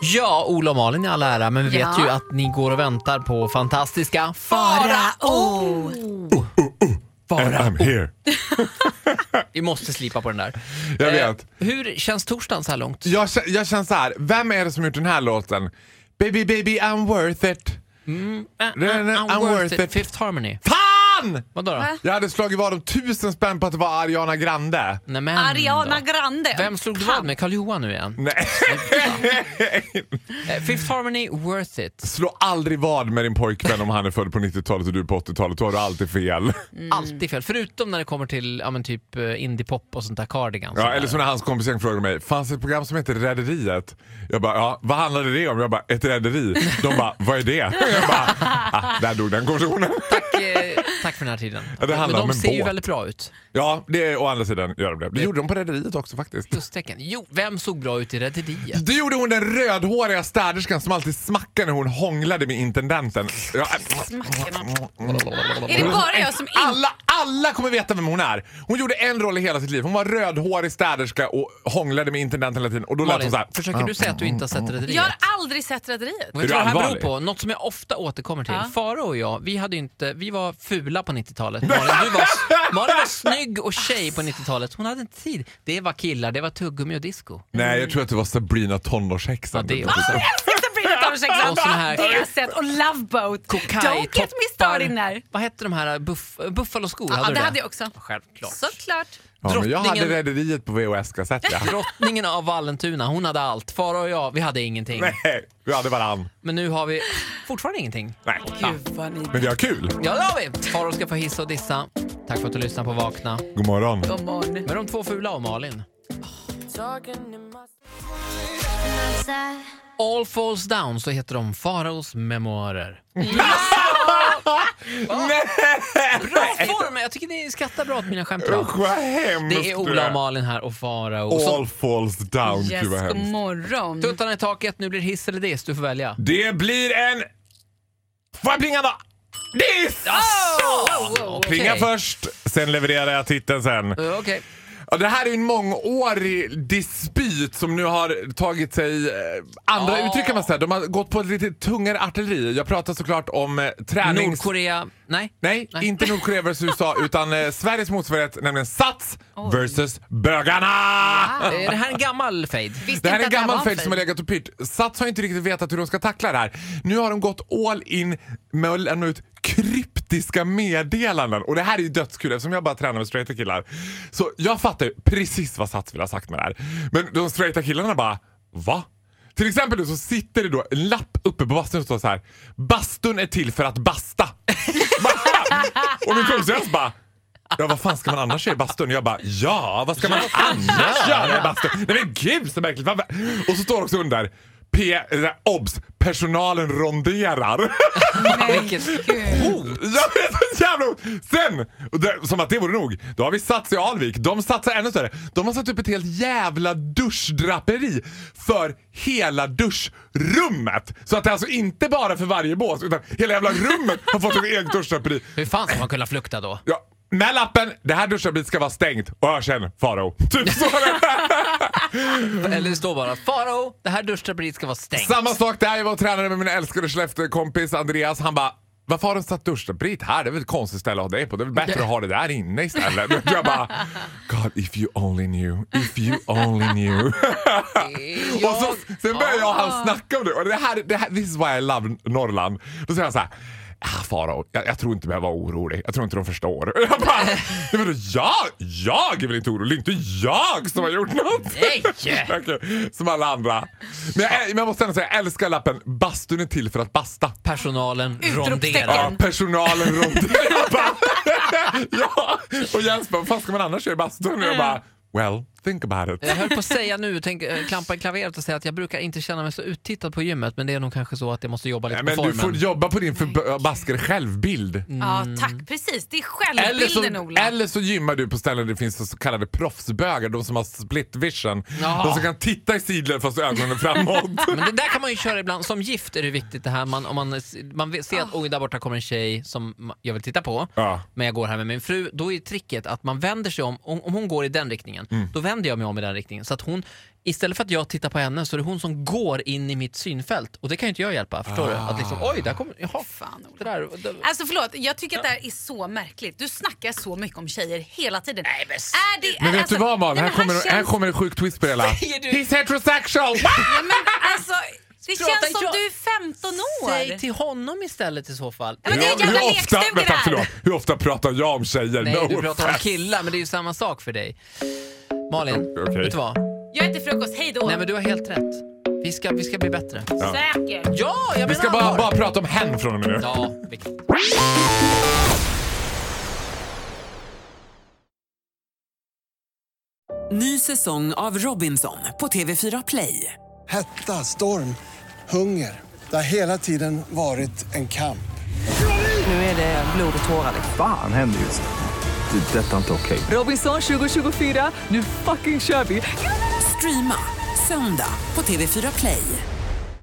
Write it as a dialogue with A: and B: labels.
A: Ja, Ola och Malin i all ära, men vi
B: Ja.
A: vet ju att ni går och väntar på fantastiska
B: Farao!
C: And
A: Farao.
C: I'm here.
A: Vi måste slipa på den där. Eh,
C: Jag vet.
A: hur känns torsdagen så här långt?
C: Eh, Jag, kä- jag känner så här. vem är det som gjort den här låten? Baby, baby, I'm worth it. Mm, eh, I'm worth it.
A: Fifth Harmony.
C: Fan!
A: Vadå då?
B: Va?
C: Jag hade slagit vad om tusen spänn på att det var Ariana Grande.
A: Nej, men
B: Ariana
A: då.
B: Grande.
A: Vem slog du vad med? Karl Johan nu igen?
C: Nej,
A: Eh, Fifth Harmony, worth it.
C: slå aldrig vad med din pojkvän om han är född på 90-talet och du på 80-talet. Då har du alltid fel.
B: Mm.
A: Alltid fel. Förutom när det kommer till ja, men typ eh, indiepop och sånt där, Cardigans.
C: Ja, eller som när hans kompis gäng frågade mig, fanns det ett program som heter Rederiet? Jag bara, ja, vad handlade det om? Jag bara, ett rederi. De bara, vad är det? Jag bara, ah, där dog den konversationen.
A: Tack, eh, tack för den här tiden.
C: Ja, det
A: men
C: handlar
A: de
C: om en
A: ser ju
C: båt.
A: väldigt bra ut.
C: Ja, det är å andra sidan gör de det. Det gjorde de på Rederiet också faktiskt.
A: Plustecken. Jo, vem såg bra ut i Rederiet?
C: Det gjorde hon den rödhåriga städerskan som alltid smackade när hon hånglade med intendenten. Ja, äh, Mm.
B: Är det bara jag som inte...
C: Alla, alla kommer veta vem hon är. Hon gjorde en roll i hela sitt liv. Hon var rödhårig städerska och hånglade med intendenten hela tiden. Och då lät hon
A: Malin,
C: så här.
A: försöker du säga att du inte har sett Rederiet?
B: Jag har aldrig sett Rederiet.
A: Och
C: Är
A: vet
C: du
A: du vad det här beror
C: allvarlig?
A: på? Något som jag ofta återkommer till.
B: Ja.
A: Faro och jag, vi, hade ju inte, vi var fula på 90-talet. Malin, du var, Malin var snygg och tjej på 90-talet. Hon hade inte tid. Det var killar, det var tuggummi och disco.
C: Nej, jag tror att det var Sabrina
A: Ja,
C: tonårshäxan.
A: det är också. Och sån här-
B: Det har jag sett. Och Love Boat. Don't get me started there.
A: Vad hette de här? Buff, eh, buffaloskor?
B: Ja,
A: hade du
B: det hade jag också.
A: Självklart.
B: Såklart.
C: ja, men jag hade
A: drottningen-
C: Rederiet på VHS-kassett. Ja.
A: Drottningen av Vallentuna, hon hade allt. Faro och jag, vi hade ingenting.
C: Nej, vi hade varann.
A: Men nu har vi fortfarande ingenting.
C: Nej.
A: Ja.
C: Men vi har kul.
A: Ja, det har vi! Farao ska få hissa och dissa. Tack för att du lyssnade på Vakna.
C: God morgon.
B: God morgon.
A: Med de två fula och Malin. All Falls Down så heter de Faraos memoarer. Bra form! Jag tycker ni skrattar bra åt mina skämt idag.
C: Usch vad hemskt
A: Det är Ola och Malin här och Farao. Och så
C: All falls down. Gud vad
B: Yes, god
C: hemskt.
B: morgon.
A: tuttarna i taket, nu blir det hiss eller diss. Du får välja.
C: Det blir en... Får jag plinga då? Diss!
A: Okej.
C: Plinga först, sen levererar jag titeln sen.
A: Eh, Okej.
C: Ja, det här är ju en mångårig dispyt som nu har tagit sig eh, andra
A: Ja.
C: uttryck kan man säga. De har gått på ett lite tungare artilleri. Jag pratar såklart om eh, tränings...
A: Nordkorea. Nej.
C: Nej,
A: Nej.
C: inte Nordkorea vs USA utan eh, Sveriges motsvarighet, nämligen Sats versus bögarna!
A: Är det här en gammal fade?
B: Visste
C: Det här
B: inte
C: är
B: att
C: en
B: det var
C: gammal
B: en
C: fade som har legat och pyrt. Sats har inte riktigt vetat hur de ska tackla det här. Nu har de gått all in med att lämna ut kryptiska meddelanden. Och det här är ju dödskul eftersom jag bara tränar med straighta killar. Så jag fattar ju precis vad Sats vill ha sagt med det här. Men de straighta killarna bara, va? Till exempel nu så sitter det då en lapp uppe på bastun som står så här. Bastun är till för att basta. Bara- och min kompis bara Ja vad fan ska man annars göra i bastun? Jag bara ja vad ska man annars göra i bastun? Nej men gud så märkligt. Vad- Och så står det också under P, eh, obs, personalen ronderar.
A: Vilket-
C: Jag vet så jävla Sen, och det, som att det vore nog, då har vi Sats i Alvik. De satsar ännu större. De har satt upp ett helt jävla duschdraperi för hela duschrummet. Så att det är alltså inte bara för varje bås utan hela jävla rummet har fått ett eget duschdraperi.
A: Hur fan ska man kunna flukta då?
C: Ja, med lappen, det här duschdraperiet ska vara stängt. Och hör sen, Farao. Typ så.
A: Eller det står bara Farao, det här duschdraperiet ska vara stängt.
C: Samma sak där, jag var och tränade med min älskade Skellefteå-kompis Andreas. Han bara varför har de satt duschdraperiet här? Det är väl ett konstigt ställe att ha det på. Det är väl bättre att ha det där inne istället. Men jag bara, God if you only knew, if you only knew. Och så, sen börjar jag och han snacka om det. Och det här, det här, this is why I love Norrland. Då säger han så här. Ah, Farao, jag, jag tror inte jag var orolig. Jag tror inte de förstår. Och jag bara, "Nej, men då jag, jag är väl inte orolig? Det är inte jag som har gjort något.
A: Nej!
C: Okej, Som alla andra. Men jag, men jag måste ändå säga, jag älskar lappen Bastun är till för att basta.
A: Personalen
B: Utropstecken.
A: ronderar.
C: Ja, personalen runt Jag bara, Ja, och Jens bara, vad fan ska man annars göra i bastun? Och jag bara, well, think about it.
A: Jag höll på att säga nu, tänk, eh, klampa i klaveret och säga att jag brukar inte känna mig så uttittad på gymmet men det är nog kanske så att jag måste jobba lite
C: Nej,
A: på
C: Men du
A: formen.
C: får jobba på din förbaskade självbild.
B: Ja, tack. Precis. Det är
C: Eller
B: självbilden,
C: så,
B: Ola.
C: eller så gymmar du på ställen där det finns så kallade proffsbögar, de som har split vision.
A: Ja.
C: De som kan titta i sidled fast ögonen är framåt.
A: Men det där kan man ju köra ibland. Som gift är det viktigt det här. Man, om man, man vet- ser att oj, där borta kommer en tjej som ma- jag vill titta på
C: Ah. Ja. Mm.
A: men jag går här med min fru. Då är tricket att man vänder sig om. Om, om hon går i den riktningen, då vänder vänder jag mig om i den riktningen. Så att hon, istället för att jag tittar på henne så är det hon som går in i mitt synfält. Och det kan ju inte jag hjälpa, förstår du? Att liksom,
C: Ah.
A: oj, där kommer, jaha.
B: Fan,
A: det
B: Ola.
A: där, det,
B: Alltså förlåt, jag tycker att det här är så märkligt. Du snackar så mycket om tjejer hela tiden. Nej, men, är det,
C: Men vet
B: alltså,
C: du vad Malin?
B: nej,
C: Här,
B: men
C: kommer,
B: känns,
C: här kommer en sjuk twist på det hela.
A: Säger du-
C: He's heterosexual! Va?
B: Ja, men, alltså, det
A: Prata
B: känns som
A: jag-
B: du är 15 år.
A: Säg till honom istället i så fall.
B: men det är en jävla
C: hur, ofta,
B: lekstuga
C: vänta,
B: det här.
C: förlåt, hur ofta pratar jag om tjejer?
A: Nej,
C: no
A: du pratar om
C: offense.
A: killar, men det är ju samma sak för dig. Malin,
C: Okej.
A: vet du vad?
B: Jag äter frukost, hej då.
A: Nej, men du har helt rätt. Vi ska, vi ska bli bättre.
C: Ja.
B: Säkert.
A: Ja, jag menar
C: Vi ska bara,
A: allvar.
C: bara prata om hen från och med nu.
A: Ja, viktigt.
D: Ny säsong av Robinson på TV4 Play.
E: Hetta, storm, hunger. Det har hela tiden varit en kamp.
D: Nu är det blod och tårar.
F: Fan händer just nu. Det. är Detta är inte okej.
D: Robinson 2024, nu fucking kör vi! Streama söndag på TV4 Play.